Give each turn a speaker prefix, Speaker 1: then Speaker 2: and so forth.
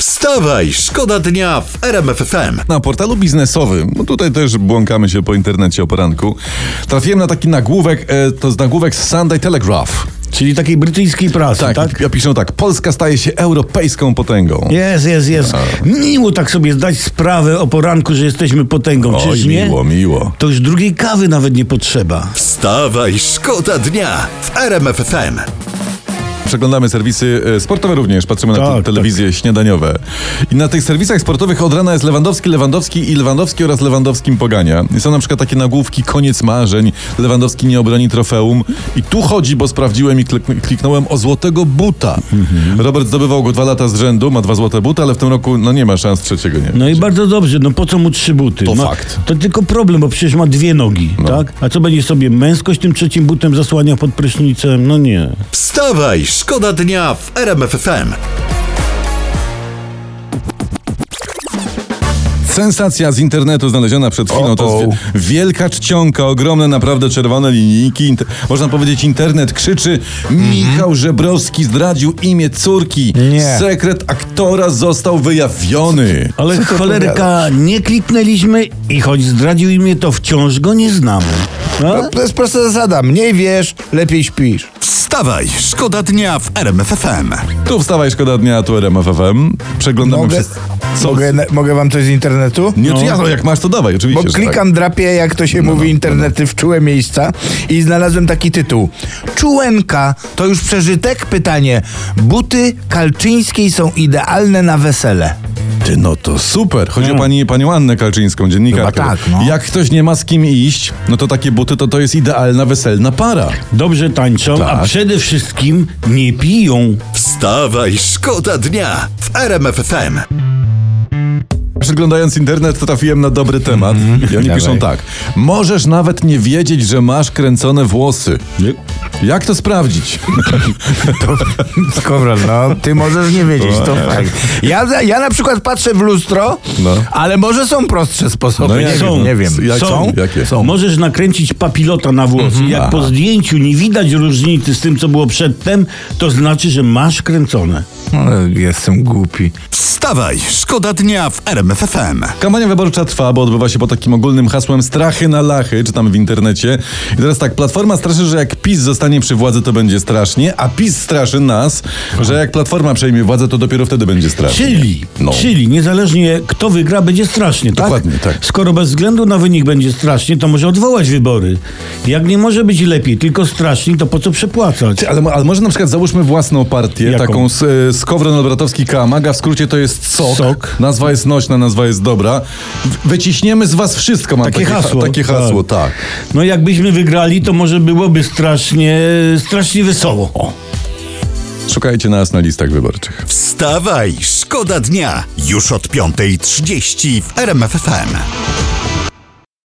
Speaker 1: Wstawaj, szkoda dnia w RMFFM.
Speaker 2: Na portalu biznesowym, no tutaj też błąkamy się po internecie o poranku, trafiłem na taki nagłówek, e, to jest nagłówek z Sunday Telegraph.
Speaker 3: Czyli takiej brytyjskiej prasy, tak?
Speaker 2: Tak, ja piszę tak, Polska staje się europejską potęgą.
Speaker 3: Jest, jest, jest. Miło tak sobie zdać sprawę o poranku, że jesteśmy potęgą,
Speaker 2: Oj,
Speaker 3: czyż nie?
Speaker 2: miło, miło.
Speaker 3: To już drugiej kawy nawet nie potrzeba.
Speaker 1: Wstawaj, szkoda dnia w RMFFM.
Speaker 2: Przeglądamy serwisy e, sportowe również, patrzymy na te,
Speaker 3: Tak,
Speaker 2: telewizje śniadaniowe. I na tych serwisach sportowych od rana jest Lewandowski, Lewandowski i Lewandowski oraz Lewandowskim pogania. I są na przykład takie nagłówki, koniec marzeń, Lewandowski nie obroni trofeum. I tu chodzi, bo sprawdziłem i klik- kliknąłem o złotego buta.
Speaker 3: Mhm.
Speaker 2: Robert zdobywał go dwa lata z rzędu, ma dwa złote buty, ale w tym roku no nie ma szans trzeciego, nie?
Speaker 3: No i bardzo dobrze, no po co mu trzy buty?
Speaker 2: To
Speaker 3: ma,
Speaker 2: fakt. No.
Speaker 3: To tylko problem, bo przecież ma dwie nogi, tak? A co będzie sobie męskość tym trzecim butem zasłania pod prysznicem? No nie.
Speaker 1: Wstawaj, szkoda dnia w RMFFM.
Speaker 2: Sensacja z internetu znaleziona przed chwilą. To jest wi- wielka czcionka, ogromne naprawdę czerwone linijki. Inter- można powiedzieć, internet krzyczy Michał
Speaker 4: Mhm.
Speaker 2: Żebrowski zdradził imię córki.
Speaker 3: Nie.
Speaker 2: Sekret aktora został wyjawiony.
Speaker 3: Ale cholerka, nie kliknęliśmy i choć zdradził imię, to wciąż go nie znamy. A?
Speaker 4: No,
Speaker 2: No.
Speaker 4: To jest prosta zasada. Mniej wiesz, lepiej śpisz.
Speaker 1: Wstawaj, szkoda dnia w RMFFM.
Speaker 2: Tu wstawaj, szkoda dnia, tu RMFFM. Przeglądamy
Speaker 4: Mogę,
Speaker 2: przez...
Speaker 4: mogę, mogę wam coś z internetu?
Speaker 2: Nie, no. ja, no, jak masz, to dawaj, oczywiście.
Speaker 4: Bo
Speaker 2: że tak.
Speaker 4: klikam, drapię, jak to się mówi, internety w czułe miejsca i znalazłem taki tytuł. Czułenka to już przeżytek? Pytanie. Buty kalczyńskiej są idealne na wesele.
Speaker 2: Ty, no to super. Chodzi o pani, panią Annę Kalczyńską, dziennikarkę.
Speaker 4: Chyba tak, no.
Speaker 2: Jak ktoś nie ma z kim iść, no to takie buty, to to jest idealna weselna para.
Speaker 3: Dobrze tańczą,
Speaker 2: Tak.
Speaker 3: a przede wszystkim nie piją.
Speaker 1: Wstawaj, szkoda dnia w RMFFM.
Speaker 2: Przeglądając internet, to trafiłem na dobry temat. I oni
Speaker 4: Dawaj.
Speaker 2: piszą tak. Możesz nawet nie wiedzieć, że masz kręcone włosy. Jak to sprawdzić?
Speaker 4: Skowron, no, ty możesz nie wiedzieć, to fakt. No. Ja, ja na przykład patrzę w lustro,
Speaker 2: No.
Speaker 4: ale może są prostsze sposoby.
Speaker 2: No
Speaker 4: nie,
Speaker 2: jak-
Speaker 4: wiem, nie wiem.
Speaker 2: jak-
Speaker 4: są?
Speaker 2: Jakie?
Speaker 3: Możesz nakręcić papilota na włosy. Jak po zdjęciu nie widać różnicy z tym, co było przedtem, to znaczy, że masz kręcone.
Speaker 4: No, Jestem głupi.
Speaker 1: Wstawaj, szkoda dnia w RMFFM.
Speaker 2: Kampania wyborcza trwa, bo odbywa się pod takim ogólnym hasłem strachy na lachy, czytamy w internecie. I teraz tak, Platforma straszy, że jak PiS zostanie przy władzy, to będzie strasznie, a PiS straszy nas, że jak Platforma przejmie władzę, to dopiero wtedy będzie strasznie.
Speaker 3: Czyli,
Speaker 2: No.
Speaker 3: czyli niezależnie kto wygra, będzie strasznie, tak?
Speaker 2: Dokładnie, tak.
Speaker 3: Skoro bez względu na wynik będzie strasznie, to może odwołać wybory. Jak nie może być lepiej, tylko strasznie, to po co przepłacać?
Speaker 2: Ty, Ale, mo- ale może na przykład załóżmy własną partię,
Speaker 3: Jaką?
Speaker 2: taką z, e, Skowron Olbratowski Kamaga, w skrócie to jest sok.
Speaker 3: Sok.
Speaker 2: Nazwa jest nośna, nazwa jest dobra. W- Wyciśniemy z was wszystko, mam
Speaker 3: Takie
Speaker 2: takie, ha-
Speaker 3: hasło.
Speaker 2: Takie hasło, tak.
Speaker 3: No jakbyśmy wygrali, to może byłoby strasznie, strasznie wesoło. O.
Speaker 2: Szukajcie nas na listach wyborczych.
Speaker 1: Wstawaj, szkoda dnia już od 5.30 w RMFFM.